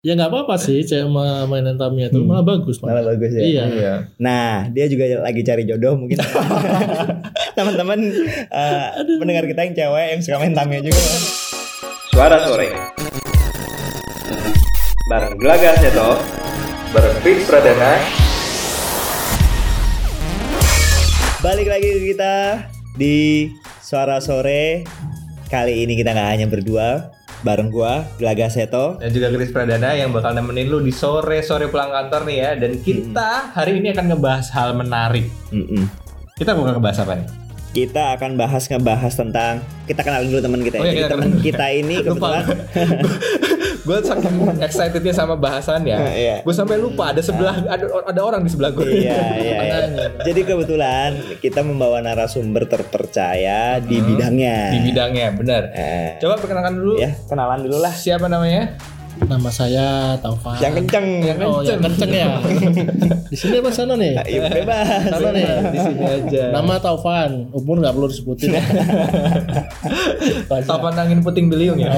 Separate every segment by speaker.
Speaker 1: Ya nggak apa-apa sih cewek ma- mainan Tamiya itu malah bagus.
Speaker 2: Hmm. Malah bagus ya.
Speaker 1: Iya.
Speaker 3: Iya.
Speaker 2: Nah, dia juga lagi cari jodoh mungkin. Teman-teman eh, pendengar kita yang cewek yang suka main Tamiya juga.
Speaker 4: Suara Sore Bareng Gelagas ya, Seto Bareng Fix Pradana
Speaker 2: Balik lagi ke kita di suara sore. Kali ini kita nggak hanya berdua, bareng gua ya, Gelaga Seto.
Speaker 3: Dan juga Chris Pradana yang bakal nemenin lu di sore-sore pulang kantor nih ya Dan kita hari ini akan ngebahas hal menarik
Speaker 2: Mm-mm.
Speaker 3: Kita bakal ngebahas apa nih?
Speaker 2: Kita akan bahas ngebahas tentang kita kenalin dulu teman kita. ya.
Speaker 3: Oh iya,
Speaker 2: Jadi
Speaker 3: kita
Speaker 2: teman
Speaker 3: kenalin.
Speaker 2: kita ini kebetulan
Speaker 3: gue saking excitednya sama bahasannya
Speaker 2: Ah, iya.
Speaker 3: Gue sampai lupa ada sebelah ada, ada orang di sebelah gue
Speaker 2: Iya, iya, iya. Jadi kebetulan kita membawa narasumber terpercaya di bidangnya.
Speaker 3: Di bidangnya, bener
Speaker 2: Eh,
Speaker 3: Coba perkenalkan dulu
Speaker 2: ya, kenalan dulu lah.
Speaker 3: Siapa namanya?
Speaker 1: Nama saya Taufan.
Speaker 2: Yang kenceng.
Speaker 1: Oh, yang kenceng ya. di sini apa sana nih?
Speaker 2: Ayo Nah, iya, bebas.
Speaker 1: Sana nih.
Speaker 3: Di sini aja
Speaker 1: Nama Taufan, umur nggak perlu disebutin. Wajar.
Speaker 3: Tapan angin puting beliung ya?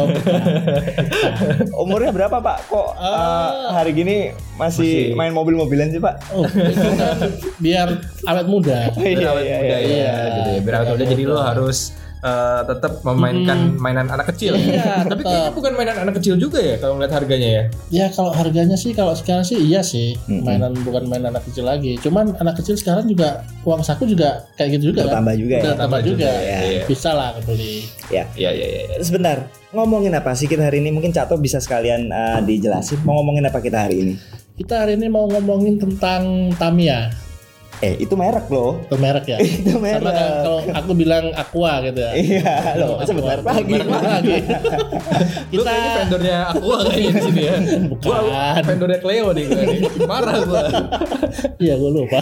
Speaker 1: Oh,
Speaker 2: Umurnya berapa Pak? Kok eh, hari gini masih,
Speaker 3: Masih.
Speaker 2: main mobil-mobilan sih Pak?
Speaker 1: oh, itu kan biar awet muda.
Speaker 3: Biar awet muda ya,
Speaker 1: iya.
Speaker 3: gitu ya. Biar awet muda jadi lo harus eh, tetap memainkan mainan anak kecil.
Speaker 1: Hmm. Iya,
Speaker 3: Tapi kayaknya bukan mainan anak kecil juga ya kalau ngeliat harganya ya.
Speaker 1: Ya kalau harganya sih kalau sekarang sih iya sih
Speaker 2: Hmm.
Speaker 1: mainan bukan mainan anak kecil lagi. Cuman anak kecil sekarang juga uang saku juga kayak gitu juga kan.
Speaker 2: Bertambah juga ya.
Speaker 1: Udah tambah juga.
Speaker 2: ya.
Speaker 3: Iya.
Speaker 1: Bisa lah beli.
Speaker 2: Ya.
Speaker 3: Iya, iya, iya.
Speaker 2: Sebentar, ngomongin apa sih kita hari ini? Mungkin Cato bisa sekalian eh, dijelasin mau ngomongin apa kita hari ini.
Speaker 1: Kita hari ini mau ngomongin tentang Tamiya,
Speaker 2: Eh, itu merek loh.
Speaker 1: itu merek ya.
Speaker 2: Itu Iya, merek.
Speaker 1: Sama kayak kalau aku bilang Aqua gitu ya.
Speaker 2: Iya, loh,
Speaker 1: Aqua.
Speaker 2: sebentar lagi.
Speaker 1: Merek lagi.
Speaker 3: Lu
Speaker 1: Kita
Speaker 3: kayaknya vendornya aku kayaknya di sini ya. Gua
Speaker 1: bukan.
Speaker 3: vendornya Cleo nih gue nih. Marah gua.
Speaker 1: Iya, gue lupa.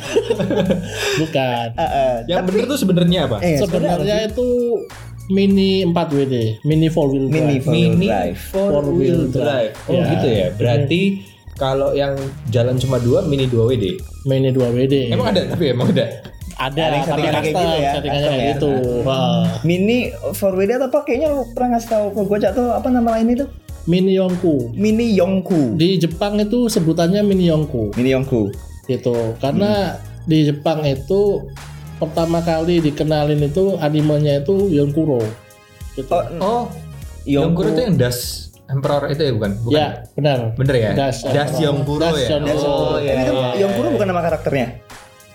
Speaker 1: bukan.
Speaker 2: Eh, eh,
Speaker 3: Yang bener tuh sebenarnya apa?
Speaker 2: eh,
Speaker 1: Sebenarnya itu mini 4WD, mini 4 wheel drive.
Speaker 2: Mini four-wheel
Speaker 3: Mini
Speaker 2: drive.
Speaker 3: four wheel drive. Oh
Speaker 1: Iya.
Speaker 3: gitu ya. Berarti kalau yang jalan cuma dua mini 2 WD.
Speaker 1: mini 2WD.
Speaker 3: Emang ada tapi emang ada.
Speaker 1: ada
Speaker 2: Ada yang
Speaker 1: tapi
Speaker 2: settingannya
Speaker 1: custom,
Speaker 2: kayak gitu ya,
Speaker 1: settingannya
Speaker 2: custom
Speaker 1: kayak
Speaker 2: ya.
Speaker 1: gitu. Wah.
Speaker 2: Mini four wheel atau apa? Kayaknya lu pernah ngasih tahu ke gue Cato apa nama lain itu?
Speaker 1: Mini Yongku.
Speaker 2: Mini Yongku.
Speaker 1: Di Jepang itu sebutannya Mini Yongku
Speaker 2: Mini Yongku.
Speaker 1: gitu. Karena
Speaker 2: Hmm.
Speaker 1: di Jepang itu pertama kali dikenalin itu animenya itu Yonkuro. Gitu.
Speaker 2: Oh,
Speaker 3: Oh, Yongkuro itu yang das Emperor itu ya bukan? Bukan.
Speaker 1: ya, benar.
Speaker 3: Bener ya?
Speaker 1: Das-
Speaker 3: das Yongkuro
Speaker 1: Das
Speaker 3: ya.
Speaker 1: Yongkuro.
Speaker 3: Oh
Speaker 1: Das
Speaker 3: iya.
Speaker 2: Tapi kan
Speaker 3: iya.
Speaker 2: Yongkuro bukan nama karakternya.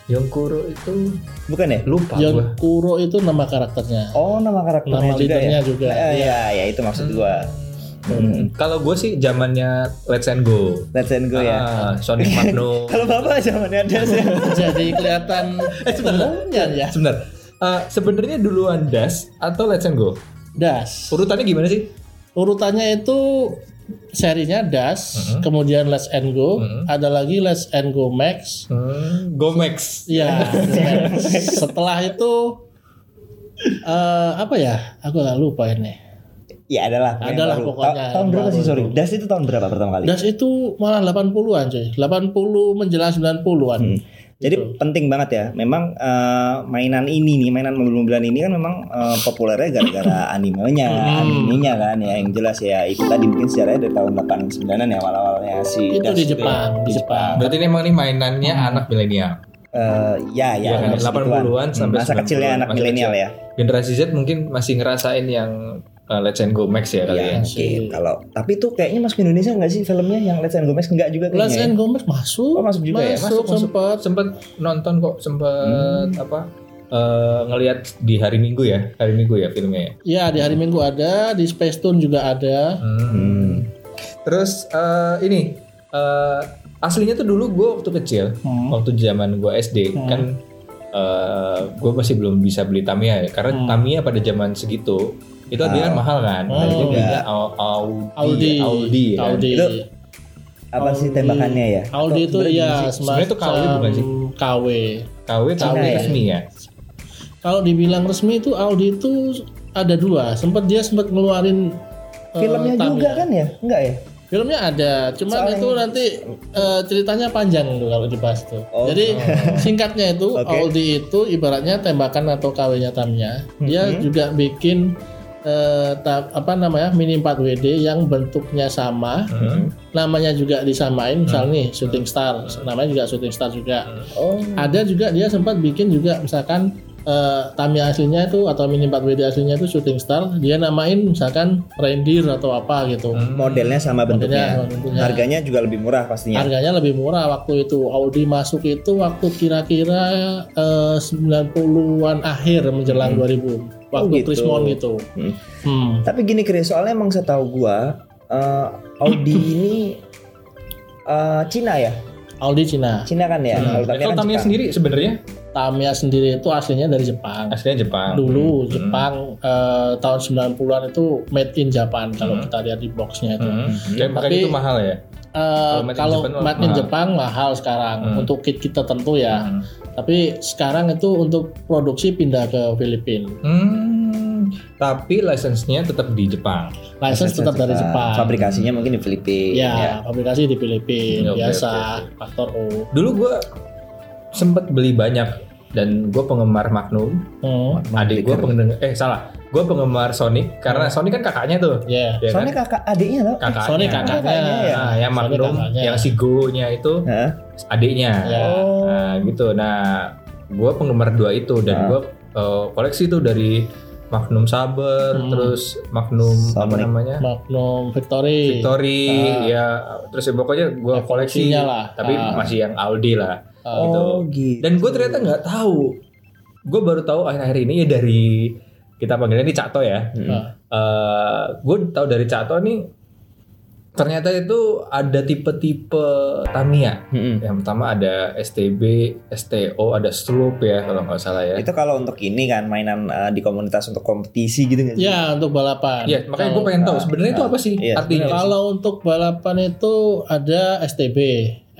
Speaker 3: Yongkuro itu
Speaker 2: Bukan ya?
Speaker 3: lupa gua.
Speaker 1: Yonkuro itu nama karakternya.
Speaker 2: Oh, nama karakternya
Speaker 1: Nama
Speaker 2: juga ya.
Speaker 1: leadernya juga.
Speaker 2: Eh, Iya, ya itu maksud gua. Hmm.
Speaker 3: Kalau gue sih zamannya Let's and Go.
Speaker 2: Let's and go ya.
Speaker 3: Ah, Sonic Magnum.
Speaker 2: Kalau Bapak zamannya ada sih.
Speaker 1: Jadi kelihatan
Speaker 2: Eh,
Speaker 1: umumnya ya.
Speaker 3: Sebentar. Eh, sebenarnya duluan Das atau Let's and Go?
Speaker 1: Das.
Speaker 3: Urutannya gimana sih?
Speaker 1: Urutannya itu serinya Das, kemudian Let's and Go, ada lagi Let's and Go Max,
Speaker 3: Hmm, Gomex.
Speaker 1: Iya. Setelah itu eh apa ya? Aku nggak lupa ini.
Speaker 2: ya adalah. pokoknya
Speaker 1: Adalah
Speaker 2: baru.
Speaker 1: pokoknya
Speaker 2: Ta- tahun
Speaker 1: yang
Speaker 2: berapa sih
Speaker 1: baru.
Speaker 2: sorry? Das itu tahun berapa pertama kali?
Speaker 1: Das itu malah 80-an cuy. 80 menjelang Gitu. 90-an.
Speaker 2: Hmm. Jadi penting banget ya. Memang eh, mainan ini nih, mainan mobil-mobilan ini kan memang eh, populernya gara-gara animenya,
Speaker 1: Hmm.
Speaker 2: animenya kan ya yang jelas ya. Itu tadi mungkin sejarahnya dari tahun 89-an ya awal-awalnya
Speaker 1: Itu
Speaker 2: si Das
Speaker 1: di Jepang, di Jepang.
Speaker 3: Berarti ini emang ini mainannya anak milenial.
Speaker 2: Eh, ya ya,
Speaker 3: Iya
Speaker 2: umur
Speaker 3: kan,
Speaker 2: segituan.
Speaker 3: 80-an sampai
Speaker 2: masa
Speaker 3: 90-an,
Speaker 2: kecilnya anak
Speaker 3: masa
Speaker 2: milenial
Speaker 3: kecil.
Speaker 2: ya.
Speaker 3: Generasi Z mungkin masih ngerasain yang eh, Let's and Go Max ya kali
Speaker 2: Iya,
Speaker 3: ya.
Speaker 2: mungkin kalau tapi itu kayaknya masuk Indonesia enggak sih filmnya yang Let's and Gomez enggak juga
Speaker 1: Las
Speaker 2: kayaknya. ya?
Speaker 1: and Gomez masuk.
Speaker 2: Oh, masuk juga ya?
Speaker 1: Masuk,
Speaker 3: Masuk, masuk.
Speaker 1: sempat.
Speaker 3: Sempet nonton kok, sempet apa eh, ngelihat di hari Minggu ya, hari Minggu ya filmnya. Ya.
Speaker 1: Ya, di hari Minggu ada, di Space Tune juga ada.
Speaker 2: Hmm.
Speaker 3: Terus eh, ini eh, aslinya tuh dulu gue waktu kecil,
Speaker 1: Hmm.
Speaker 3: waktu zaman gue SD kan gue masih belum bisa beli Tamiya ya, karena Tamiya pada zaman segitu itu
Speaker 2: Ah.
Speaker 3: dia mahal kan,
Speaker 1: Hmm. Oh.
Speaker 2: iya.
Speaker 3: jadi belinya Au- Audi,
Speaker 1: Audi,
Speaker 3: Audi, ya kan?
Speaker 1: Audi.
Speaker 2: Itu Apa sih
Speaker 1: Audi.
Speaker 2: tembakannya ya?
Speaker 1: Audi itu
Speaker 3: Sebenarnya
Speaker 1: ya
Speaker 3: gimana sih? Sebenarnya itu KW bukan sih?
Speaker 1: semacam KW.
Speaker 3: KW KW
Speaker 2: Cina ya?
Speaker 3: resmi ya.
Speaker 1: Kalau dibilang resmi itu Audi itu ada dua. Sempat dia sempat ngeluarin eh,
Speaker 2: Filmnya
Speaker 1: Tamiya.
Speaker 2: juga kan ya? Enggak ya?
Speaker 1: Filmnya ada, cuman
Speaker 2: Soalnya-
Speaker 1: itu nanti eh, ceritanya panjang tuh kalau dibahas tuh.
Speaker 2: Oh.
Speaker 1: Jadi singkatnya itu
Speaker 2: Oke. Mhm.
Speaker 1: Aldi itu ibaratnya tembakan atau KW-nya Tamnya. Dia juga bikin eh, ta- apa namanya mini 4WD yang bentuknya sama,
Speaker 3: Hmm.
Speaker 1: namanya juga disamain, misal nih Shooting Star, namanya juga Shooting Star juga.
Speaker 2: Oh.
Speaker 1: Ada juga dia sempat bikin juga misalkan eh, Tamiya aslinya itu atau mini 4WD aslinya itu Shooting Star, dia namain misalkan Reindeer atau apa gitu.
Speaker 2: Hmm.
Speaker 3: Mhm.
Speaker 2: Modelnya sama
Speaker 1: Modelnya
Speaker 2: bentuknya.
Speaker 1: sama bentuknya.
Speaker 2: Harganya juga lebih murah
Speaker 3: Iya.
Speaker 2: pastinya.
Speaker 1: Harganya lebih murah waktu itu. Audi masuk itu waktu kira-kira eh, 90-an akhir
Speaker 3: Hmm.
Speaker 1: menjelang
Speaker 3: Oh,
Speaker 1: 2000. Waktu
Speaker 2: gitu.
Speaker 1: Krismon gitu.
Speaker 2: Hmm.
Speaker 1: Hmm.
Speaker 2: Tapi gini Chris, soalnya emang setahu gua eh, Audi ini eh, Cina ya?
Speaker 1: Audi Cina.
Speaker 2: Cina kan ya? Kalau Tamiya
Speaker 3: Hmm. Kalau
Speaker 2: kan
Speaker 3: Tamiya
Speaker 2: Jepang.
Speaker 3: sendiri sebenarnya
Speaker 1: Tamiya sendiri itu aslinya dari Jepang.
Speaker 3: aslinya Jepang.
Speaker 1: Dulu
Speaker 3: Hmm.
Speaker 1: Jepang eh, tahun 90-an itu made in Japan kalau kita lihat di boxnya itu.
Speaker 3: Hmm. Jadi makanya
Speaker 1: Tapi-
Speaker 3: itu mahal ya.
Speaker 1: Eh,
Speaker 3: made in
Speaker 1: kalau
Speaker 3: Japan
Speaker 1: made in
Speaker 3: mahal.
Speaker 1: Jepang mahal sekarang
Speaker 3: Hmm.
Speaker 1: untuk kit kita tentu ya.
Speaker 3: Hmm.
Speaker 1: Tapi sekarang itu untuk produksi pindah ke Filipina.
Speaker 3: Hmm. Tapi lisensinya tetap di Jepang.
Speaker 1: License tetap dari
Speaker 2: Jepang.
Speaker 1: Jepang.
Speaker 2: Fabrikasinya mungkin di Filipina. Iya.
Speaker 1: Ya,
Speaker 3: Ya.
Speaker 1: aplikasi di Filipina
Speaker 3: Oke,
Speaker 1: biasa
Speaker 3: oke, oke.
Speaker 1: faktor U.
Speaker 3: Dulu gue sempat beli banyak dan gue penggemar Magnum.
Speaker 1: Hmm,
Speaker 3: Adik gue
Speaker 2: Flicker.
Speaker 3: penggemar eh salah, gue penggemar Sonic
Speaker 1: Oh.
Speaker 3: karena Sonic kan kakaknya tuh.
Speaker 1: ya.
Speaker 3: Ya
Speaker 2: Soalnya kakak adiknya loh.
Speaker 3: kan? kakaknya.
Speaker 1: Sony kakaknya.
Speaker 2: Kakaknya ya.
Speaker 3: Nah, yang
Speaker 1: Sony
Speaker 3: Magnum,
Speaker 1: kakaknya.
Speaker 3: yang si Go-nya itu
Speaker 2: Hah?
Speaker 3: adiknya.
Speaker 1: Ya.
Speaker 2: Oh,
Speaker 3: Nah, gitu. Nah, gue penggemar dua itu dan
Speaker 2: Nah.
Speaker 3: gue koleksi tuh dari Magnum Saber,
Speaker 1: Hmm.
Speaker 3: terus Magnum apa
Speaker 2: Sonic.
Speaker 3: namanya?
Speaker 1: Magnum Victory.
Speaker 3: Victory,
Speaker 1: Ah.
Speaker 3: ya terus ya pokoknya gue koleksi,
Speaker 1: Evolusinya lah.
Speaker 3: tapi
Speaker 1: Ah.
Speaker 3: masih yang Audi lah.
Speaker 1: Ah.
Speaker 3: gitu.
Speaker 2: Oh gitu.
Speaker 3: Dan gue ternyata nggak tahu, gue baru tahu akhir-akhir ini ya dari kita panggilnya ini Cato ya.
Speaker 2: Mm-mm.
Speaker 3: gue tahu dari Cato nih ternyata itu ada tipe-tipe Tamiya.
Speaker 2: Mm-mm.
Speaker 3: Yang pertama ada STB, STO, ada Stroop ya kalau nggak salah ya.
Speaker 2: Itu kalau untuk ini kan mainan eh, di komunitas untuk kompetisi gitu nggak sih?
Speaker 1: Ya, untuk balapan.
Speaker 3: Iya, makanya gue
Speaker 1: Kalau-
Speaker 3: pengen tahu sebenarnya itu apa sih
Speaker 2: Iya,
Speaker 3: artinya?
Speaker 1: Kalau untuk balapan itu ada STB.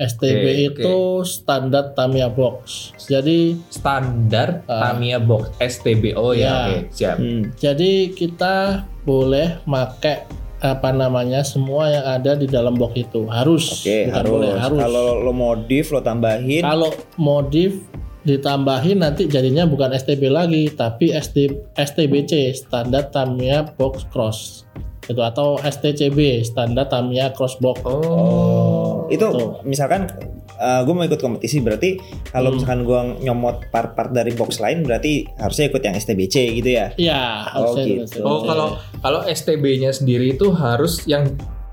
Speaker 1: STB
Speaker 3: Oke,
Speaker 1: itu standar Tamiya Box. Jadi
Speaker 3: standar Tamiya box STBO ya.
Speaker 1: Ya.
Speaker 3: Oke, siap.
Speaker 2: Hmm.
Speaker 1: jadi kita boleh pakai apa namanya semua yang ada di dalam box itu harus
Speaker 2: Oke,
Speaker 1: bukan
Speaker 2: harus.
Speaker 1: Iya, boleh harus
Speaker 2: Kalau lo modif, lo tambahin.
Speaker 1: Kalau modif ditambahin nanti jadinya bukan STB lagi tapi SD, STBC standar Tamiya Box Cross itu atau STCB standar Tamiya Cross Box.
Speaker 3: Oh.
Speaker 2: itu
Speaker 1: Tuh.
Speaker 2: misalkan gue mau ikut kompetisi berarti kalau
Speaker 3: Hmm.
Speaker 2: misalkan gue nyomot part-part dari box lain berarti harusnya ikut yang STBC gitu ya
Speaker 1: Iya,
Speaker 2: Oh,
Speaker 1: harusnya
Speaker 2: gitu.
Speaker 1: STBC.
Speaker 3: Oh, kalau kalau STB-nya sendiri itu harus yang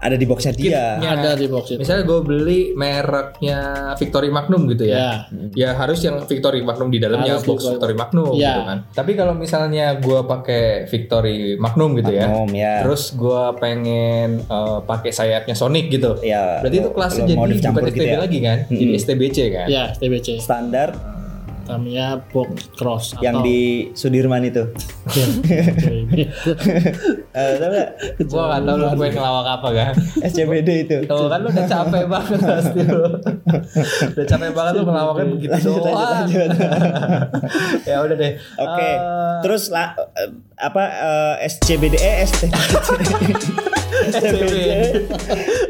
Speaker 2: ada di boxnya dia
Speaker 3: kitnya.
Speaker 1: ada di
Speaker 2: Iya.
Speaker 1: box itu.
Speaker 3: Misalnya gue beli mereknya Victory Magnum gitu
Speaker 2: Iya.
Speaker 3: ya.
Speaker 1: Ya,
Speaker 3: Ya harus yang Victory Magnum di dalamnya
Speaker 1: Harus
Speaker 3: box Victory
Speaker 1: Victory
Speaker 3: Magnum
Speaker 1: Iya.
Speaker 3: gitu kan. Tapi kalau misalnya gue pakai Victory Magnum gitu ya.
Speaker 2: Magnum, ya
Speaker 3: Terus gue pengen eh, pakai sayapnya Sonic gitu.
Speaker 2: ya
Speaker 3: Berarti itu
Speaker 2: lo- lo
Speaker 3: kelasnya jadi
Speaker 2: mau
Speaker 3: bukan
Speaker 2: dicampur
Speaker 3: STB
Speaker 2: gitu ya.
Speaker 3: lagi kan? Jadi
Speaker 2: Mm-mm. Iya.
Speaker 3: STBC kan?
Speaker 1: ya STBC
Speaker 2: standar
Speaker 1: Tamiya Box Cross
Speaker 2: yang
Speaker 1: atau-
Speaker 2: di Sudirman itu Eh, tau nggak?
Speaker 3: Gua gak tau lu gue ngelawak apa kan
Speaker 2: SCBD itu
Speaker 3: Tuh kan lu udah capek banget pasti lu Udah capek banget lu ngelawaknya begitu
Speaker 2: Lanjut, lanjut,
Speaker 3: doang
Speaker 2: lanjut.
Speaker 3: Ya udah deh
Speaker 2: oke
Speaker 3: Eh,
Speaker 2: terus lah eh, apa eh, SCBD eh STBC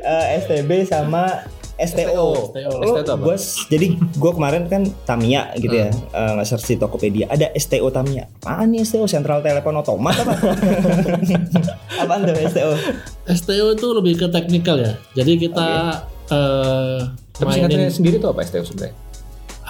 Speaker 2: Eh, STB sama STO.
Speaker 1: STO.
Speaker 2: Lo,
Speaker 3: STO apa?
Speaker 2: Oh, gua s- jadi gue kemarin kan Tamiya gitu ya, eh, nge-search di Tokopedia ada STO Tamiya. Apaan nih STO? Sentral Telepon Otomat apa? Apaan tuh STO?
Speaker 1: STO itu lebih ke teknikal ya. Jadi kita eh,
Speaker 3: Tapi singkatnya
Speaker 1: mainin
Speaker 3: sendiri tuh apa STU sebenarnya?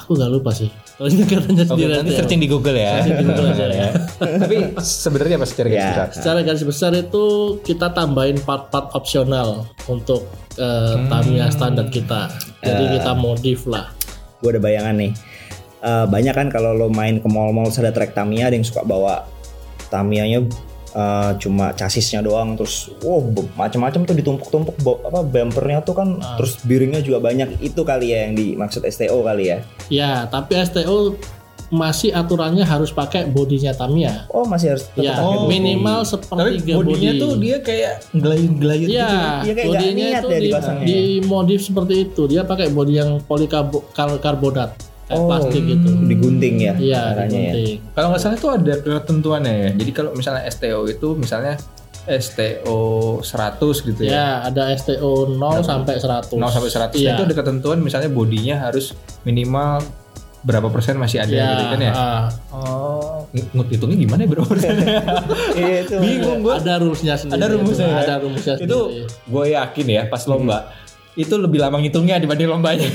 Speaker 1: aku nggak lupa sih. Kalau singkatannya
Speaker 3: Oke,
Speaker 1: sendiri
Speaker 3: nanti
Speaker 1: nanti ya.
Speaker 3: searching di Google ya.
Speaker 1: Searching di Google aja ya.
Speaker 3: Tapi sebenarnya apa secara garis
Speaker 2: Ya.
Speaker 3: besar?
Speaker 1: Secara garis besar itu kita tambahin part-part opsional untuk eh, Tamiya standar kita. Jadi kita modif lah.
Speaker 2: Gue ada bayangan nih. Eh, banyak kan kalau lo main ke mall-mall terus ada trek Tamiya ada yang suka bawa Tamiyanya eh, cuma chasisnya doang terus wow be- macam-macam tuh ditumpuk-tumpuk bo- apa bumpernya tuh kan
Speaker 1: Ah.
Speaker 2: terus biringnya juga banyak itu kali ya yang dimaksud STO kali ya
Speaker 1: Ya, tapi STO masih aturannya harus pakai bodinya Tamiya.
Speaker 2: oh masih harus tetap
Speaker 1: Ya,
Speaker 2: pakai bodi.
Speaker 1: minimal
Speaker 3: Tapi
Speaker 1: sepertiga
Speaker 3: bodinya
Speaker 1: body.
Speaker 3: tuh dia gitu kayak gitu. gelayut-gelayut
Speaker 1: Iya,
Speaker 2: Iya, kayak nggak
Speaker 1: bodinya itu
Speaker 2: niat ya
Speaker 1: di,
Speaker 2: dipasangnya.
Speaker 1: dimodif seperti itu. Dia pakai body yang polikarbonat kayak
Speaker 2: Oh,
Speaker 1: plastik gitu.
Speaker 2: digunting ya
Speaker 1: Iya,
Speaker 2: caranya ya
Speaker 1: digunting.
Speaker 3: Kalau nggak salah itu ada ketentuannya ya. Jadi kalau misalnya STO itu misalnya STO 100 gitu ya.
Speaker 1: Ya, ada STO 0 sampai 100.
Speaker 3: 0 sampai 100
Speaker 1: Iya.
Speaker 3: Nah, itu ada ketentuan misalnya bodinya harus minimal berapa persen masih ada
Speaker 1: Iya,
Speaker 3: gitu kan ya.
Speaker 1: ah.
Speaker 3: Oh, oke. ng- ngitungnya gimana ya, bro?
Speaker 2: Iya, itu.
Speaker 3: Bingung gue.
Speaker 1: ada rumusnya sendiri.
Speaker 3: Ada rumusnya
Speaker 1: itu.
Speaker 3: ya?
Speaker 1: Iya, Ada rumusnya
Speaker 3: itu
Speaker 1: sendiri.
Speaker 3: gue yakin ya pas lomba itu lebih lama ngitungnya dibanding lombanya.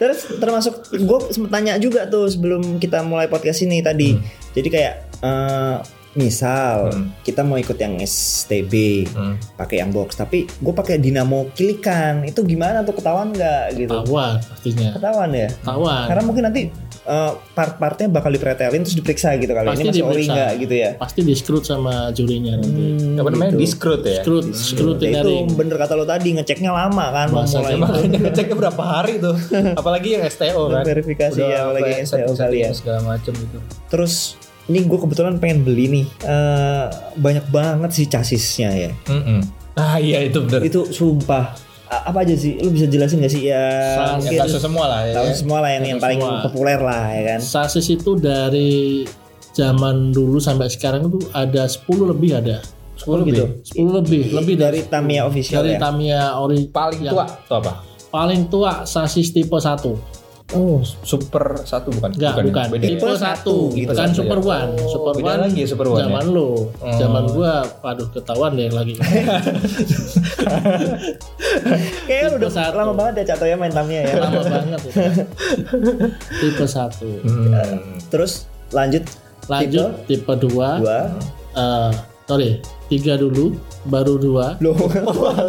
Speaker 2: Terus termasuk gue sempet tanya juga tuh sebelum kita mulai podcast ini tadi. Jadi kayak eh, misal
Speaker 3: Hmm.
Speaker 2: kita mau ikut yang STB
Speaker 3: Hmm.
Speaker 2: pakai yang box, tapi gue pakai dinamo kilikan itu gimana tuh ketahuan nggak gitu?
Speaker 1: Tawan pastinya.
Speaker 2: Ketahuan ya.
Speaker 1: Tawan.
Speaker 2: Karena mungkin nanti eh, part-partnya bakal dipretelin terus diperiksa gitu kali
Speaker 1: Pasti
Speaker 2: ini masih ori
Speaker 1: diperiksa.
Speaker 2: nggak gitu ya.
Speaker 1: Pasti di screw sama jurinya nanti.
Speaker 2: Hmm,
Speaker 3: Apa namanya?
Speaker 2: gitu.
Speaker 3: Discrete ya.
Speaker 1: Screw, screw
Speaker 2: Ya,
Speaker 1: tiring.
Speaker 2: itu bener kata lo tadi ngeceknya lama kan
Speaker 1: Masa
Speaker 2: mulai
Speaker 1: sih, Mas?
Speaker 3: Makanya ngeceknya berapa hari tuh. Apalagi yang STO kan.
Speaker 2: verifikasi ya apalagi
Speaker 3: sampai
Speaker 2: STO
Speaker 3: setting-setting
Speaker 2: kali ya.
Speaker 3: segala gitu. macam itu.
Speaker 2: Terus ini gue kebetulan pengen beli nih Eh, banyak banget sih chassisnya ya.
Speaker 3: Mm-mm. Ah iya itu benar.
Speaker 2: Itu sumpah A- apa aja sih? Lu bisa jelasin gak sih ya?
Speaker 1: Salah,
Speaker 3: Ya,
Speaker 2: Mungkin
Speaker 3: kasus semua lah ya.
Speaker 2: tahu semua lah yang yang paling
Speaker 1: Semua.
Speaker 2: populer lah ya kan.
Speaker 1: Sasis itu dari zaman dulu sampai sekarang itu ada 10 lebih ada.
Speaker 2: gitu.
Speaker 3: 10 gitu.
Speaker 1: 10 lebih, lebih
Speaker 2: dari Tamiya official
Speaker 1: dari
Speaker 2: ya.
Speaker 1: Tamiya ori
Speaker 3: Paling
Speaker 1: yang
Speaker 3: tua tuh apa?
Speaker 1: Paling tua sasis tipe 1.
Speaker 2: Oh,
Speaker 3: Super satu bukan?
Speaker 1: Enggak, bukan.
Speaker 3: Beda ya?
Speaker 1: Tipe
Speaker 2: Tipe satu,
Speaker 1: 1,
Speaker 2: gitu.
Speaker 1: bukan
Speaker 3: Satu ya.
Speaker 1: Super One.
Speaker 3: Oh,
Speaker 1: Super
Speaker 3: beda
Speaker 1: One
Speaker 3: lagi ya Super One
Speaker 1: Zaman
Speaker 3: ya?
Speaker 1: lo,
Speaker 2: Oh.
Speaker 3: Hmm.
Speaker 1: zaman gua aduh ketahuan deh lagi.
Speaker 2: kayaknya udah
Speaker 1: satu.
Speaker 2: lama banget ya Catoya main Tamiya ya.
Speaker 1: Lama banget itu. Tipe 1.
Speaker 3: Hmm.
Speaker 2: Terus lanjut
Speaker 1: Lanjut tipe 2.
Speaker 2: dua
Speaker 1: eh sorry, 3 dulu, baru 2.
Speaker 2: loh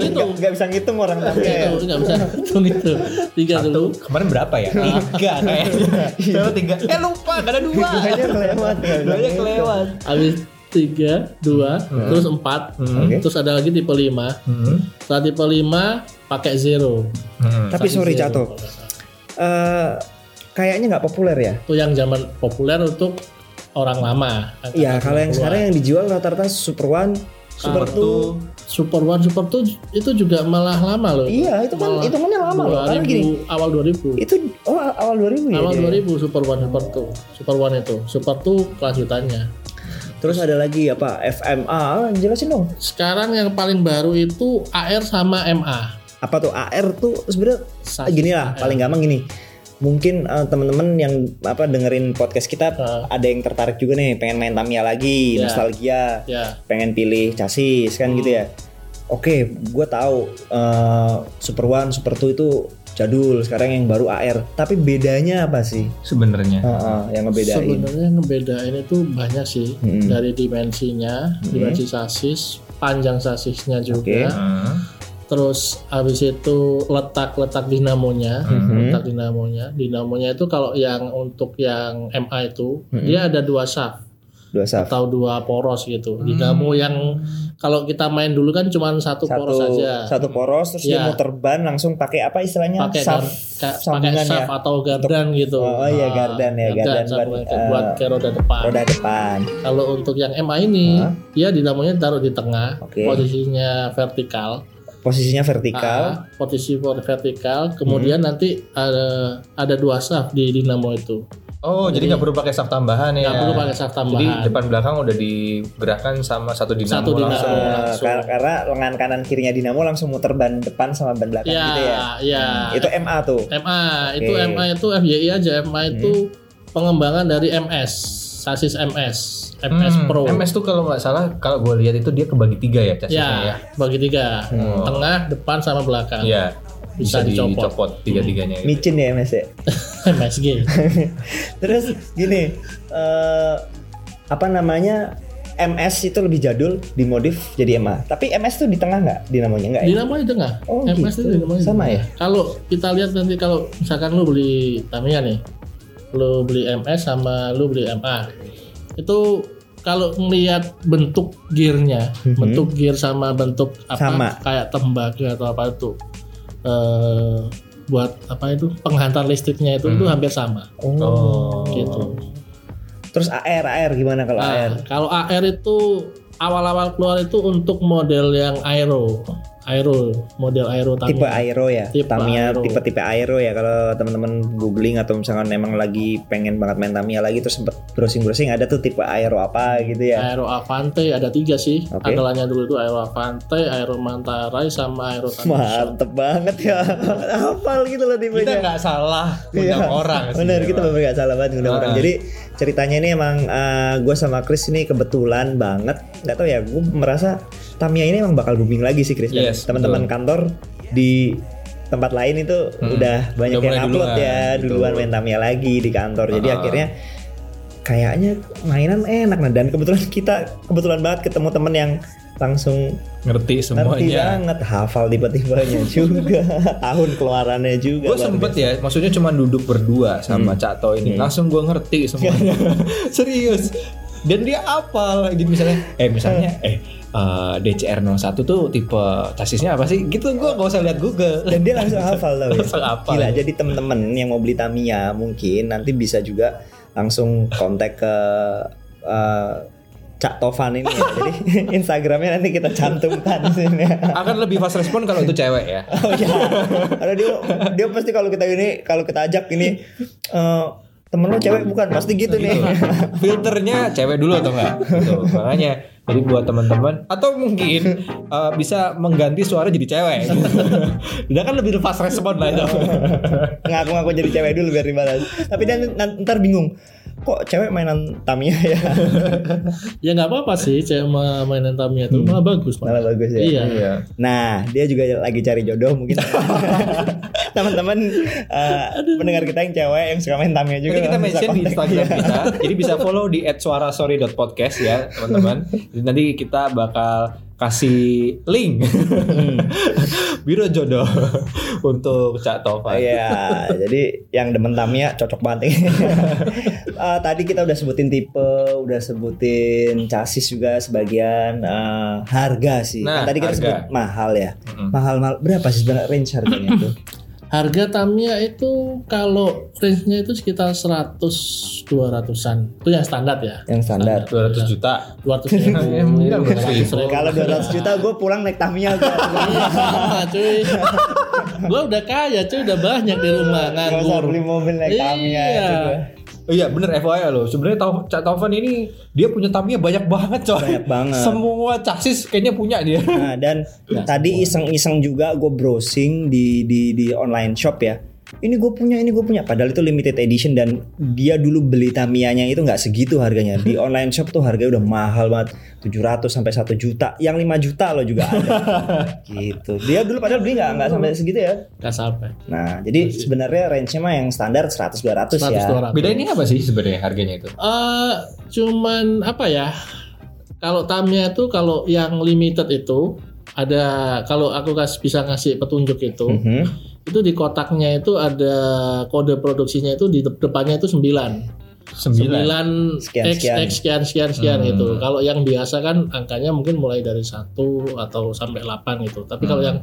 Speaker 2: nggak nggak bisa ngitung orang Tamiya ya.
Speaker 1: Itu nggak bisa hitung itu. 3 Iya, dulu. Iya.
Speaker 3: Kemarin berapa ya? Tiga kayaknya. Coba tiga. Eh lupa, gak ada dua.
Speaker 1: Iya.
Speaker 2: Duanya kelewat nggak bisa
Speaker 3: Duanya
Speaker 2: ngitung.
Speaker 3: kelewat.
Speaker 1: habis tiga dua terus empat
Speaker 3: Hmm.
Speaker 1: terus ada lagi tipe lima
Speaker 3: Hmm.
Speaker 1: setelah tipe lima pakai zero
Speaker 3: Hmm.
Speaker 2: Tapi
Speaker 1: Sasis
Speaker 2: sorry
Speaker 1: zero.
Speaker 2: Cato, eh, kayaknya nggak populer ya.
Speaker 1: itu yang zaman populer untuk orang lama angkatan
Speaker 2: Iya, kalau yang
Speaker 1: 90-an.
Speaker 2: sekarang yang dijual rata-rata Super One, Super
Speaker 3: Super two.
Speaker 2: Two.
Speaker 1: super one super two itu juga malah lama loh
Speaker 2: Iya, itu kan
Speaker 1: Malah
Speaker 2: hitungannya lama loh. Karena gini,
Speaker 1: 2000, awal 2000
Speaker 2: itu oh awal 2000 ya.
Speaker 1: awal
Speaker 2: dia?
Speaker 1: 2000 super one super two super one itu super two kelanjutannya
Speaker 2: Terus ada lagi apa? FMA, jelasin dong.
Speaker 1: sekarang yang paling baru itu AR sama MA
Speaker 2: Apa tuh AR tuh sebenarnya
Speaker 1: Sasis
Speaker 2: Ah, gini lah,
Speaker 1: AR.
Speaker 2: paling gampang gini. Mungkin eh, temen-temen yang apa dengerin podcast kita
Speaker 1: Ah.
Speaker 2: ada yang tertarik juga nih pengen main Tamiya lagi,
Speaker 1: Iya.
Speaker 2: nostalgia,
Speaker 1: ya
Speaker 2: pengen pilih chassis kan
Speaker 1: Hmm.
Speaker 2: gitu ya. Oke, gue tahu eh, Super One, Super Two itu jadul. Sekarang yang baru AR. Tapi bedanya apa sih?
Speaker 3: Sebenarnya.
Speaker 2: Heeh, yang ngebedain. Hmm.
Speaker 1: Sebenarnya ngebedain itu banyak sih
Speaker 2: Mm-mm.
Speaker 1: dari dimensinya,
Speaker 2: Mm-mm.
Speaker 1: dimensi sasis, panjang sasisnya juga,
Speaker 3: Hmm.
Speaker 1: terus habis itu letak-letak dinamonya,
Speaker 2: Mhm.
Speaker 1: letak dinamonya. Dinamonya itu kalau yang untuk yang MA itu
Speaker 2: Mm-mm.
Speaker 1: dia ada dua shaft
Speaker 2: Dua saf.
Speaker 1: atau dua poros
Speaker 3: Hmm.
Speaker 1: gitu. Dinamo yang kalau kita main dulu kan cuma satu, poros saja.
Speaker 2: satu poros terus dia
Speaker 1: Iya.
Speaker 2: muter ban langsung pakai apa istilahnya?
Speaker 1: pakai gar-
Speaker 2: Saf.
Speaker 1: ka- pakai
Speaker 2: sambungan
Speaker 1: shaft
Speaker 2: ya.
Speaker 1: atau gardan gitu.
Speaker 2: Oh,
Speaker 1: Nah,
Speaker 2: iya, gardan ya, gardan
Speaker 1: sambungan
Speaker 2: buat,
Speaker 1: ke- buat
Speaker 2: eh,
Speaker 1: ke roda depan.
Speaker 2: Roda depan.
Speaker 1: Kalau untuk yang MA ini,
Speaker 2: Hah?
Speaker 1: dia dinamonya taruh di tengah,
Speaker 2: Oke.
Speaker 1: posisinya vertikal.
Speaker 2: Posisinya vertikal. Hmm.
Speaker 1: Ah, posisi for- vertikal, kemudian nanti ada, ada dua shaft di dinamo itu.
Speaker 3: Oh, jadi nggak perlu pakai shaft tambahan ya?
Speaker 1: Nggak perlu pakai shaft
Speaker 3: Jadi
Speaker 1: tambahan.
Speaker 3: depan belakang udah digerakkan sama satu dinamo
Speaker 1: Satu dinamo.
Speaker 3: langsung.
Speaker 1: Ah.
Speaker 2: Eh,
Speaker 1: langsung.
Speaker 2: kar- karena lengan kanan kirinya dinamo langsung muter ban depan sama ban belakang
Speaker 1: ya,
Speaker 2: gitu ya.
Speaker 1: ya.
Speaker 2: Itu MA tuh.
Speaker 1: MA, itu
Speaker 2: Oke. Hmm.
Speaker 1: MA itu FYI aja, MA itu pengembangan dari MS, sasis MS, MS
Speaker 3: Hmm,
Speaker 1: Pro.
Speaker 3: MS tuh kalau nggak salah, kalau gue lihat itu dia kebagi tiga ya
Speaker 1: ya,
Speaker 3: chassisnya ya.
Speaker 1: bagi tiga,
Speaker 3: Hmm.
Speaker 1: tengah, depan sama belakang.
Speaker 3: Iya.
Speaker 1: Bisa
Speaker 3: Bisa,
Speaker 1: dicopot.
Speaker 3: dicopot, tiga-tiganya. itu.
Speaker 2: Micin ya MS ya.
Speaker 1: MSG.
Speaker 2: Terus gini, eh apa namanya MS itu lebih jadul dimodif jadi MA. Tapi MS tuh di tengah nggak dinamonya nggak? ya?
Speaker 1: Dinamo di tengah.
Speaker 2: Oh,
Speaker 1: MS
Speaker 2: gitu.
Speaker 1: itu dinamo di tengah.
Speaker 2: Sama ya?
Speaker 1: Kalau kita lihat nanti kalau misalkan lu beli Tamiya nih, lu beli MS sama lu beli MA, itu kalau melihat bentuk gearnya,
Speaker 2: Mhm.
Speaker 1: bentuk gear sama bentuk apa
Speaker 2: Sama.
Speaker 1: kayak tembaga atau apa itu, eh buat apa itu penghantar listriknya itu itu
Speaker 2: Mhm.
Speaker 3: Hmm.
Speaker 1: hampir sama.
Speaker 3: Oh.
Speaker 1: Gitu.
Speaker 2: Terus AR AR gimana kalau
Speaker 1: Nah,
Speaker 2: AR?
Speaker 1: kalau AR itu awal-awal keluar itu untuk model yang aero, aero model aero Tamiya.
Speaker 2: Tipe aero ya,
Speaker 1: Tipe
Speaker 2: Tamiya
Speaker 1: aero.
Speaker 2: tipe-tipe aero ya. Kalau teman-teman googling atau misalkan emang lagi pengen banget main Tamiya lagi terus sempet browsing-browsing ada tuh tipe aero apa gitu ya.
Speaker 1: Aero Avante ada tiga sih.
Speaker 2: Oke.
Speaker 1: Andalannya dulu itu Aero Avante, Aero Mantarai, sama Aero Tanusha.
Speaker 2: Mantep banget ya, hafal gitu loh
Speaker 3: Kita
Speaker 2: tipenya.
Speaker 3: nggak salah
Speaker 2: Iya.
Speaker 3: undang orang. sih,
Speaker 2: Bener, Iya. kita
Speaker 3: memang.
Speaker 2: bener nggak salah banget ngundang
Speaker 3: Ah.
Speaker 2: orang. Jadi ceritanya ini emang gue sama Chris ini kebetulan banget nggak tahu ya gue merasa Tamiya ini emang bakal booming lagi sih Chris Dan
Speaker 3: Yes,
Speaker 2: teman-teman
Speaker 3: betul.
Speaker 2: kantor di tempat lain itu
Speaker 3: Mm-mm.
Speaker 2: udah banyak
Speaker 3: Udah
Speaker 2: yang
Speaker 3: mulai
Speaker 2: upload
Speaker 3: duluan,
Speaker 2: ya
Speaker 3: gitu.
Speaker 2: duluan main Tamiya lagi di kantor jadi
Speaker 3: Ah.
Speaker 2: akhirnya kayaknya mainan enak nah dan kebetulan kita kebetulan banget ketemu temen yang langsung
Speaker 3: ngerti
Speaker 2: ngerti kan?
Speaker 3: semuanya.
Speaker 2: banget hafal tiba-tibanya juga tahun keluarannya juga
Speaker 3: Gue
Speaker 2: luar
Speaker 3: sempet ya, maksudnya cuma duduk berdua sama Cak To ini, langsung gue ngerti semuanya. Serius. Dan dia apal, jadi misalnya, eh misalnya, eh eh, DCR 01 tuh tipe chassisnya apa sih? Gitu gue gak usah lihat Google.
Speaker 2: dan dia langsung hafal loh
Speaker 3: Langsung hafal.
Speaker 2: Gila,
Speaker 3: ya.
Speaker 2: jadi temen-temen yang mau beli Tamiya mungkin nanti bisa juga langsung kontak ke eh, Cak Tovan ini ya. Jadi Instagramnya nanti kita cantumkan di sini. ya.
Speaker 3: Akan lebih fast respon kalau itu cewek ya.
Speaker 2: Oh ya. Karena dia dia pasti kalau kita ini kalau kita ajak ini eh, temen lo cewek bukan pasti gitu nih.
Speaker 3: filternya cewek dulu atau enggak gitu. makanya jadi buat teman-teman atau mungkin eh, bisa mengganti suara jadi cewek dia kan lebih fast respon lah itu
Speaker 2: Ngaku-ngaku jadi cewek dulu biar dibalas. Tapi dia nanti, ntar bingung. Kok cewek mainan Tamiya ya?
Speaker 1: ya nggak apa-apa sih cewek ma- mainan Tamiya itu malah bagus Pak.
Speaker 2: Hmm. Malah bagus ya.
Speaker 1: iya
Speaker 2: Nah, dia juga lagi cari jodoh mungkin. Teman-teman eh, pendengar kita yang cewek yang suka main Tamiya juga.
Speaker 3: Jadi
Speaker 2: Iya
Speaker 3: kita
Speaker 2: kan? bisa
Speaker 3: mention di
Speaker 2: kontak
Speaker 3: Instagram
Speaker 2: dia.
Speaker 3: kita. Jadi bisa follow di @suarasori.podcast ya, teman-teman. Jadi Nanti kita bakal kasih link
Speaker 2: Hmm.
Speaker 3: biro jodoh untuk Cak
Speaker 2: Oh
Speaker 3: Tova.
Speaker 2: iya, jadi yang demen Tamiya cocok banget. Eh, tadi kita udah sebutin tipe, udah sebutin chassis juga sebagian eh, harga sih.
Speaker 3: Nah,
Speaker 2: Kan tadi kita
Speaker 3: harga.
Speaker 2: sebut mahal ya.
Speaker 3: Mm-mm.
Speaker 2: Mahal-mahal berapa sih sebenarnya range harganya itu?
Speaker 1: harga Tamiya itu kalau range-nya itu sekitar 100 200-an itu yang standar ya
Speaker 2: Yang standar.
Speaker 3: 200 juta.
Speaker 1: 200 ribu
Speaker 3: Iya, iya, betul.
Speaker 2: Kalau 200 juta gue pulang naik Tamiya gue.
Speaker 1: Hahaha, cuy gue udah kaya cuy udah banyak di rumah
Speaker 2: Gak usah
Speaker 1: nganggur
Speaker 2: beli mobil naik Tamiya
Speaker 1: Iya.
Speaker 2: gitu.
Speaker 3: Oh iya bener FYI loh sebenarnya Tau- Cak Taufan ini dia punya Tamiya banyak banget coy
Speaker 2: Banyak banget.
Speaker 3: semua chassis kayaknya punya dia
Speaker 2: Nah, dan tadi iseng-iseng juga gue browsing di di di online shop ya. Ini gue punya, ini gue punya. Padahal itu limited edition dan dia dulu beli Tamiyanya itu nggak segitu harganya. Di online shop tuh harganya udah mahal banget, 700 sampai 1 juta. Yang 5 juta loh juga ada. gitu. Dia dulu padahal beli nggak nggak sampai segitu ya.
Speaker 1: gak sampai
Speaker 2: Nah, jadi sebenarnya range-nya mah yang standar 100 200 ya.
Speaker 1: 100 200
Speaker 3: beda ini apa sih sebenarnya harganya itu
Speaker 1: Eh, cuman apa ya? Kalau Tamiya itu kalau yang limited itu ada kalau aku kas- bisa ngasih petunjuk itu,
Speaker 2: Mhm.
Speaker 1: itu di kotaknya itu ada kode produksinya itu di dep- depannya itu 9.
Speaker 3: 9
Speaker 1: 9
Speaker 2: Sekian,
Speaker 1: X
Speaker 2: sekian.
Speaker 1: X sekian sekian sekian
Speaker 3: Hmm.
Speaker 1: gitu. Kalau yang biasa kan angkanya mungkin mulai dari 1 atau sampai 8 gitu. Tapi kalau
Speaker 3: Hmm.
Speaker 1: yang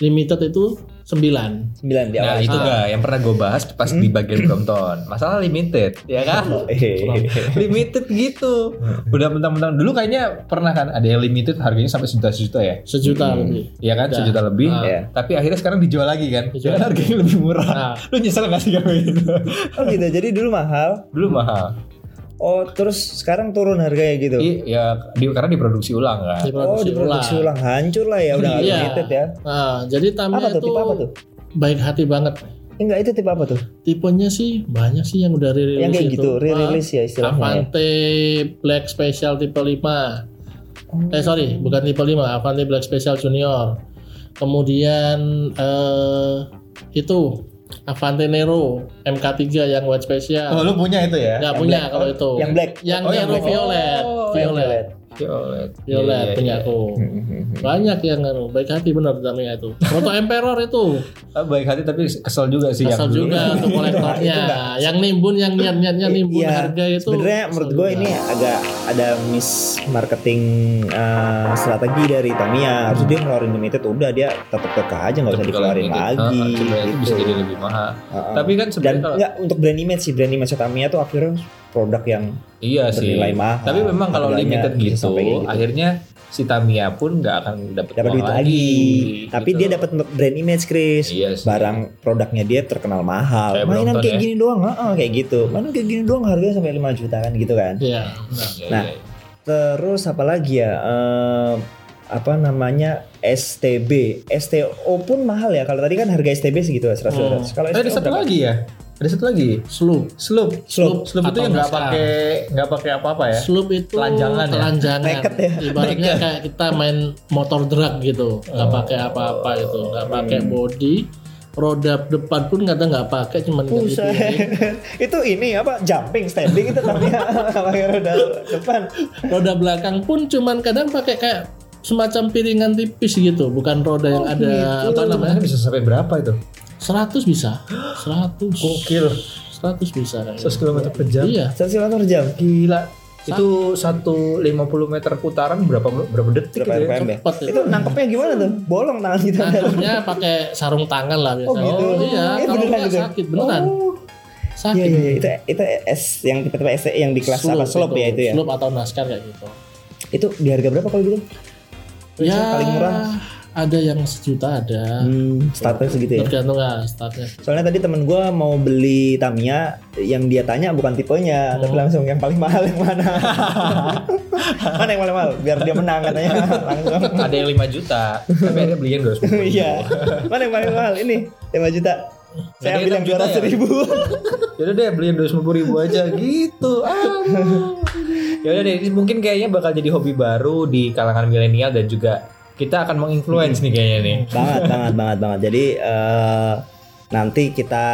Speaker 1: limited itu 9.
Speaker 2: 9 di
Speaker 3: Nah
Speaker 2: awal.
Speaker 3: itu enggak yang pernah gue bahas pas di bagian Brompton Masalah limited ya kan
Speaker 2: Hehehe.
Speaker 3: Limited gitu
Speaker 1: Hmm.
Speaker 3: Udah mentang-mentang dulu kayaknya pernah kan ada yang limited harganya sampai sejuta-sejuta ya
Speaker 2: Hmm.
Speaker 1: Sejuta lebih.
Speaker 3: Iya kan
Speaker 1: Udah.
Speaker 3: sejuta lebih
Speaker 1: Ah.
Speaker 2: Iya.
Speaker 3: Tapi akhirnya sekarang dijual lagi kan
Speaker 1: Dijual.
Speaker 3: Dengan harganya lebih murah
Speaker 1: Nah,
Speaker 3: Lu nyesel gak sih kayak gitu
Speaker 2: Oh gitu. Jadi dulu mahal.
Speaker 3: Dulu mahal
Speaker 2: Oh, terus sekarang turun harganya gitu.
Speaker 3: I- ya di, karena diproduksi ulang kan.
Speaker 2: Oh,
Speaker 1: diproduksi ulang.
Speaker 2: diproduksi ulang. hancur lah ya, udah nggak
Speaker 1: Iya.
Speaker 2: limited ya.
Speaker 1: Nah, jadi
Speaker 2: Apa
Speaker 1: Tamiya
Speaker 2: tuh tipe apa tuh?
Speaker 1: baik hati banget.
Speaker 2: Enggak itu tipe apa tuh?
Speaker 1: Tipenya sih banyak sih yang udah rilis
Speaker 2: Yang kayak gitu, re-release ya istilahnya. ya?
Speaker 3: Oh,
Speaker 1: Avante Black Special tipe 5.
Speaker 2: Oh.
Speaker 1: Eh sorry, bukan tipe 5, Avante Black Special Junior. Kemudian eh itu Avante Nero MK3 yang white
Speaker 3: Oh,
Speaker 1: special.
Speaker 3: lu punya itu ya?
Speaker 1: Nggak
Speaker 2: yang
Speaker 1: punya
Speaker 2: black.
Speaker 1: kalau itu.
Speaker 2: Yang black.
Speaker 1: Yang
Speaker 3: Oh, yang
Speaker 1: Nero
Speaker 3: black.
Speaker 1: violet,
Speaker 3: Oh, yang
Speaker 1: violet, violet,
Speaker 3: Violet. Iya, iya,
Speaker 1: punya
Speaker 3: iya.
Speaker 1: aku.
Speaker 2: Hmm,
Speaker 1: Banyak yang Nero, baik hati benar namanya itu. Proto Emperor itu.
Speaker 3: Ah, baik hati tapi kesel juga sih
Speaker 1: Asal
Speaker 3: yang dulu.
Speaker 1: juga untuk kolektornya.
Speaker 2: Iya, Itu nggak-
Speaker 1: yang nimbun, yang niat-niatnya nimbun
Speaker 2: Iya.
Speaker 1: harga itu.
Speaker 2: Sebenarnya menurut gue ini agak ada miss marketing eh, strategi dari Tamiya. Harus dia ngeluarin limited udah dia tetap kekeh aja nggak usah
Speaker 3: Tapi Hmm. kalau yang
Speaker 2: dikeluarin
Speaker 3: itu,
Speaker 2: lagi.
Speaker 3: ah, sebenarnya itu bisa
Speaker 2: gitu.
Speaker 3: jadi lebih mahal.
Speaker 2: Heeh.
Speaker 3: Tapi kan
Speaker 2: dan
Speaker 3: sebenarnya kalau
Speaker 2: enggak untuk brand image sih brand image Tamiya tuh akhirnya produk yang
Speaker 3: iya sih.
Speaker 2: bernilai mahal.
Speaker 3: Tapi memang kalau
Speaker 2: Harganya
Speaker 3: limited
Speaker 2: bisa
Speaker 3: gitu,
Speaker 2: sampai kayak gitu.
Speaker 3: akhirnya si Tamiya pun nggak akan dapat
Speaker 2: dapat
Speaker 3: uang
Speaker 2: duit lagi. Tapi
Speaker 3: gitu.
Speaker 2: dia dapat brand image Chris.
Speaker 3: Iya sih.
Speaker 2: barang produknya dia terkenal mahal.
Speaker 3: Kayak
Speaker 2: mainan
Speaker 3: Brompton
Speaker 2: kayak
Speaker 3: ya.
Speaker 2: gini doang, heeh, kayak gitu. Mainan kayak gini doang harganya sampai 5 juta kan gitu kan.
Speaker 1: Iya.
Speaker 3: Iya,
Speaker 2: Nah.
Speaker 3: iya.
Speaker 2: Terus apa lagi ya? Eh, apa namanya? STB. STO pun mahal ya. Kalau tadi kan harga STB segitu ya, 100
Speaker 1: Hmm.
Speaker 2: 200. Kalau
Speaker 3: Eh, ada
Speaker 2: STO
Speaker 3: satu
Speaker 2: berapa?
Speaker 3: lagi ya. Ada satu lagi.
Speaker 1: slope
Speaker 3: Slope.
Speaker 2: Slope.
Speaker 3: Slope
Speaker 1: Atau
Speaker 3: itu yang nggak
Speaker 1: nggak
Speaker 3: pakai nggak pakai apa-apa ya.
Speaker 1: Slope itu
Speaker 3: Telanjangan ya?
Speaker 1: telanjangan.
Speaker 2: Naked ya?
Speaker 1: Ibaratnya kayak kita main motor drag gitu, nggak
Speaker 3: Oh.
Speaker 1: pakai apa-apa gitu, nggak
Speaker 2: Hmm.
Speaker 1: pakai body, roda depan pun kadang nggak pakai, cuman gitu ya. ganti
Speaker 2: Buset.
Speaker 1: piring.
Speaker 2: itu ini apa jumping standing itu tapi pakai roda depan
Speaker 1: Roda belakang pun cuman kadang pakai kayak semacam piringan tipis gitu, bukan roda yang
Speaker 2: Oh,
Speaker 1: ada
Speaker 2: gitu.
Speaker 1: apa namanya?
Speaker 3: Namanya bisa sampai berapa itu?
Speaker 1: 100 bisa, 100.
Speaker 3: Gokil.
Speaker 1: 100 bisa kayaknya.
Speaker 3: 100 km per jam.
Speaker 1: Iya.
Speaker 2: satu kilometer jam
Speaker 3: Gila. Itu 150 meter putaran berapa berapa detik
Speaker 2: berapa
Speaker 3: gitu ya?
Speaker 2: RPM ya
Speaker 1: Cepat
Speaker 2: itu nangkepnya gimana tuh bolong tangan gitu. kita
Speaker 1: Nangkepnya pakai sarung tangan lah
Speaker 2: oh
Speaker 1: biasanya.
Speaker 2: gitu
Speaker 1: iya,
Speaker 2: Eh,
Speaker 1: kalau
Speaker 2: beneran
Speaker 1: nggak
Speaker 2: gitu
Speaker 1: sakit beneran.
Speaker 2: Oh.
Speaker 1: Sakit.
Speaker 2: Iya, iya, iya. itu itu S yang tipe-tipe SE yang di kelas apa slop ya itu ya.
Speaker 1: Slope atau NASCAR kayak gitu.
Speaker 2: Itu di harga berapa kalau gitu?
Speaker 1: Ya,
Speaker 2: paling murah.
Speaker 1: ada yang sejuta ada.
Speaker 2: Hmm, starter segitu ya.
Speaker 1: Tergantung lah startnya.
Speaker 2: Soalnya tadi temen gue mau beli Tamiya, yang dia tanya bukan tipenya, tapi langsung yang paling mahal yang mana? mana yang paling mahal? Biar dia menang katanya langsung.
Speaker 3: Ada yang 5 juta, tapi ada beli yang 250.
Speaker 2: Iya. Mana yang paling mahal? Ini 5 juta. Saya ambil yang
Speaker 3: Jadi enam juta
Speaker 2: juara
Speaker 3: ya?
Speaker 2: seribu.
Speaker 3: Yaudah Ya deh beli yang 250 ribu aja gitu. Ya Yaudah deh, ini mungkin kayaknya bakal jadi hobi baru di kalangan milenial dan juga kita akan menginfluence nih kayaknya nih.
Speaker 2: banget, banget, banget, banget. Jadi eh, nanti kita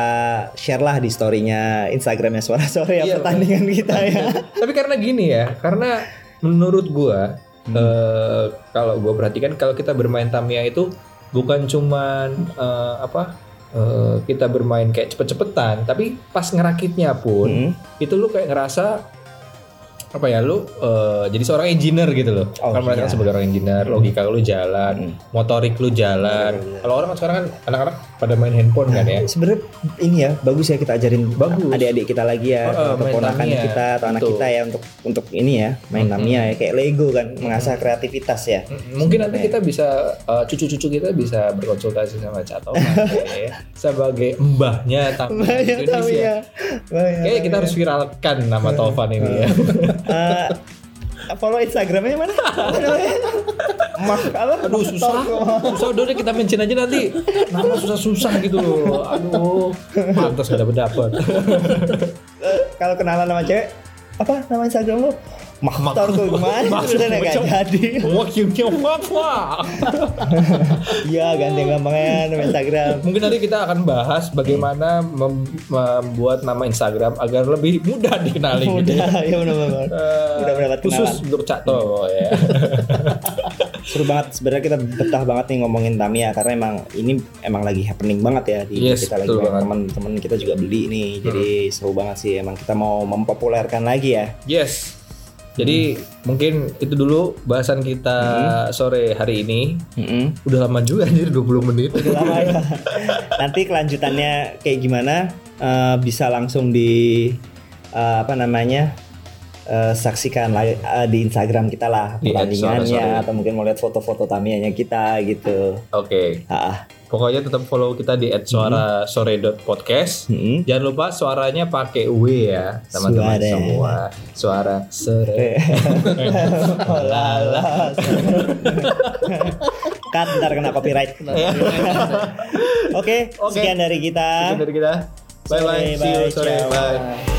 Speaker 2: share lah di storynya Instagramnya suara sore ya
Speaker 3: Iya,
Speaker 2: pertandingan kita ya.
Speaker 3: Tapi karena gini ya, karena menurut gua eh, kalau gua perhatikan kalau kita bermain Tamiya itu bukan cuman eh, apa eh, kita bermain kayak cepet-cepetan, tapi pas ngerakitnya pun
Speaker 2: Hmm.
Speaker 3: itu lu kayak ngerasa apa ya lu eh, jadi seorang engineer gitu loh.
Speaker 2: Oh,
Speaker 3: kan merasa
Speaker 2: iya.
Speaker 3: sebagai orang engineer, logika lu
Speaker 2: Hmm.
Speaker 3: jalan, motorik lu jalan.
Speaker 2: Iya, iya.
Speaker 3: Kalau orang kan sekarang kan anak-anak pada main handphone kan ya.
Speaker 2: sebenarnya ini ya bagus ya kita ajarin
Speaker 3: Bagus.
Speaker 2: adik-adik kita lagi ya
Speaker 3: Oh, oh,
Speaker 2: atau
Speaker 3: main
Speaker 2: keponakan
Speaker 3: Tamiya.
Speaker 2: kita atau anak
Speaker 3: Betul. Hmm.
Speaker 2: kita ya untuk untuk ini ya main Tamiya ya kayak Lego kan mengasah kreativitas ya
Speaker 3: Mm, Mungkin nanti kita bisa eh, cucu-cucu kita bisa berkonsultasi sama Cato ya, sebagai mbahnya Tamiya
Speaker 2: banyak Tamiya
Speaker 3: Indonesia.
Speaker 2: banyak
Speaker 3: Kayaknya kita harus viralkan nama Taufan ini ya.
Speaker 2: Eh, follow Instagramnya mana Apa namanya? Mah apa
Speaker 3: Aduh susah. Susah udah deh, kita mention aja nanti. Nama susah-susah gitu loh. Aduh. Pantas gak dapet dapat.
Speaker 2: Eh, kalau kenalan sama cewek apa nama Instagram lu Mahtor tuh kemarin
Speaker 3: Mahtor,
Speaker 2: udah nggak
Speaker 3: bocok.
Speaker 2: jadi
Speaker 3: Wakilnya Wafa.
Speaker 2: iya ganti gampangnya nama Instagram
Speaker 3: Mungkin nanti kita akan bahas bagaimana mem- membuat nama Instagram agar lebih mudah dikenali gitu. ya.
Speaker 2: udah ya benar-benar
Speaker 3: Eh,
Speaker 2: Udah mendapat
Speaker 3: khusus
Speaker 2: kenalan.
Speaker 3: untuk Cak Tol ya.
Speaker 2: seru banget sebenarnya kita betah banget nih ngomongin Tamiya karena emang ini emang lagi happening banget ya di
Speaker 3: Yes,
Speaker 2: kita lagi
Speaker 3: betul
Speaker 2: banyak
Speaker 3: banget. Hmm.
Speaker 2: teman-teman kita juga beli nih jadi seru banget sih emang kita mau mempopulerkan lagi ya
Speaker 3: yes. Jadi
Speaker 2: Hmm.
Speaker 3: mungkin itu dulu bahasan kita sore hari ini.
Speaker 2: Mm-mm.
Speaker 3: Udah lama juga anjir 20 menit.
Speaker 2: Udah lama ya. nanti kelanjutannya kayak gimana eh, bisa langsung di eh, apa namanya eh, saksikan li- eh, di Instagram kita lah
Speaker 3: Di
Speaker 2: pertandingannya
Speaker 3: @suara-suara.
Speaker 2: atau mungkin mau lihat foto-foto Tamiyanya kita gitu
Speaker 3: Oke.
Speaker 2: ah
Speaker 3: Pokoknya tetap follow kita di
Speaker 2: Hmm.
Speaker 3: @suarasore.podcast.
Speaker 2: Mm-mm.
Speaker 3: Jangan lupa suaranya pakai W ya, teman-teman
Speaker 2: Suara.
Speaker 3: semua. Suara sore.
Speaker 2: Oh, lala. Cut, ntar kena copyright. Oke,
Speaker 3: Oke.
Speaker 2: sekian dari kita.
Speaker 3: Sekian dari kita. Bye bye.
Speaker 2: Sore,
Speaker 3: See you
Speaker 2: bye,
Speaker 3: sore.
Speaker 2: ciao.
Speaker 3: Bye.